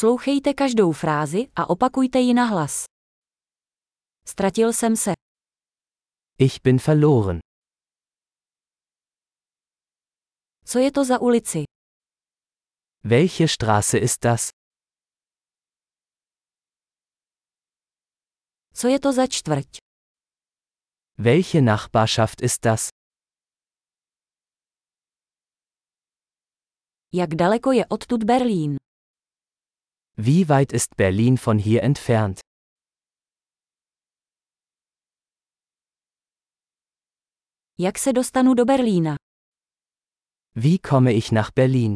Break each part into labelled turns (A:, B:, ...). A: Poslouchejte každou frázi a opakujte ji nahlas. Ztratil jsem se.
B: Ich bin verloren.
A: Co je to za ulici?
B: Welche Straße ist das?
A: Co je to za čtvrť?
B: Welche Nachbarschaft ist das?
A: Jak daleko je odtud Berlín?
B: Wie weit ist Berlin von hier entfernt?
A: Jak se dostanu do Berlína?
B: Wie komme ich nach Berlin?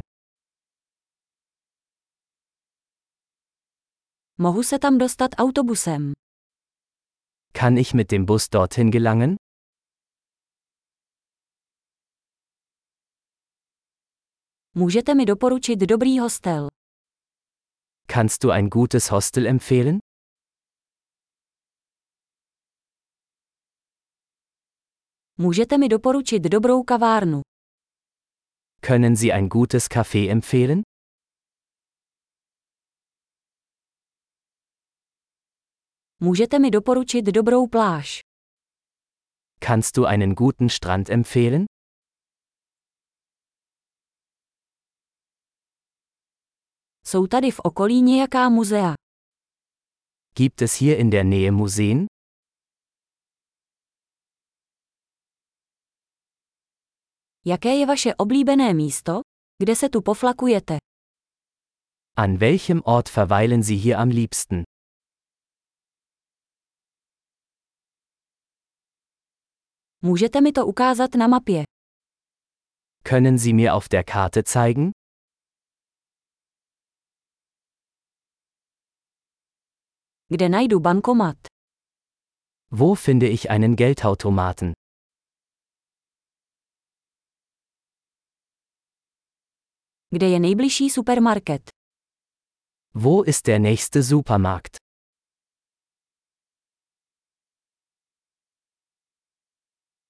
A: Mohu se tam dostat autobusem.
B: Kann ich mit dem Bus dorthin gelangen?
A: Můžete mi doporučit dobrý hostel.
B: Kannst du ein gutes Hostel empfehlen?
A: Můžete mi doporučit dobrou kavárnu.
B: Können Sie ein gutes Café empfehlen?
A: Můžete mi doporučit dobrou pláž.
B: Kannst du einen guten Strand empfehlen?
A: Jsou tady v okolí nějaká muzea.
B: Gibt es hier in der Nähe Museen?
A: Jaké je vaše oblíbené místo, kde se tu poflakujete?
B: An welchem Ort verweilen Sie hier am liebsten?
A: Můžete mi to ukázat na mapě.
B: Können Sie mir auf der Karte zeigen?
A: Kde najdu bankomat?
B: Wo finde ich einen Geldautomaten?
A: Kde je nejbližší supermarket?
B: Wo ist der nächste Supermarkt?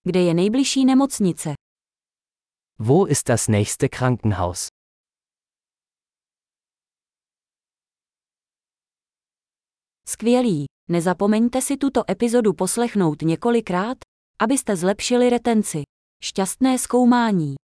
A: Kde je nejbližší nemocnice?
B: Wo ist das nächste Krankenhaus?
A: Skvělý! Nezapomeňte si tuto epizodu poslechnout několikrát, abyste zlepšili retenci. Šťastné zkoumání!